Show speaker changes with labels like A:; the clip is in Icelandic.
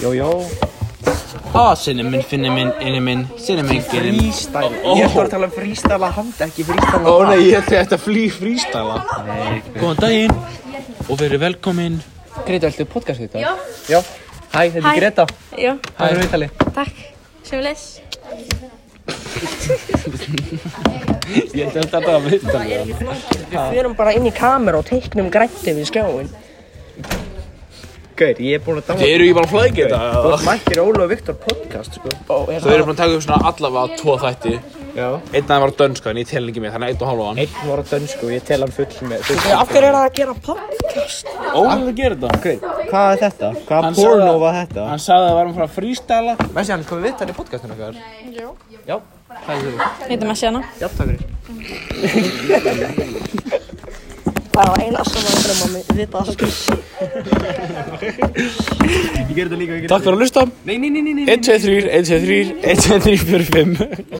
A: Jó, jó
B: Ah, sinni minn, finni minn, inni minn, sinni minn, ginni minn
A: Freestyle Ég ætti að tala um freestyle að handa, ekki freestyle að
C: Ó nei, ég ætti þetta flý frístæla
B: Góðan daginn og verið velkominn
A: Greta, ættu podcast þetta?
D: Já,
A: Já Hæ, þetta
D: Hæ.
A: er Greta
D: já,
A: Það er viðtali
D: takk, sem les.
C: Ég ætti þetta að vita
E: Við erum bara inn í kamera og teiknum grætti við skjáin.
A: Gaur, ég er búinn að
C: Þið
A: dama
C: eru ekki bara að flækja þetta
A: Þú ert mættir Ólu og Viktor podcast, sko
E: Ó, er
C: Þau eru búin að taka upp svona allavega tvo þætti
A: Já
C: Einn af þeim var dönska en ég tel ekki með þannig að einn og halva hann
A: Einn var á dönsku og ég tel hann full með
E: það? Af hverju er það að gera podcast?
C: Ólega að gera þetta
A: Gaur, hvað er þetta? Hvaða
C: Hann sagði
A: porno
C: að-
A: var þetta?
C: Hann sagði að það var hann frá frístæla
A: Messi, hann er komið viðtali í podcastinu okkar
D: Heitum að sjana.
A: Já, takk fyrir
E: Það var eina sem að drömma mig við það sko.
C: Takk fyrir að hlusta
A: Nei, nei, nei, nei, nei
C: 1, 2, 3, 1, 2, 3, 1, 2, 3, 4, 5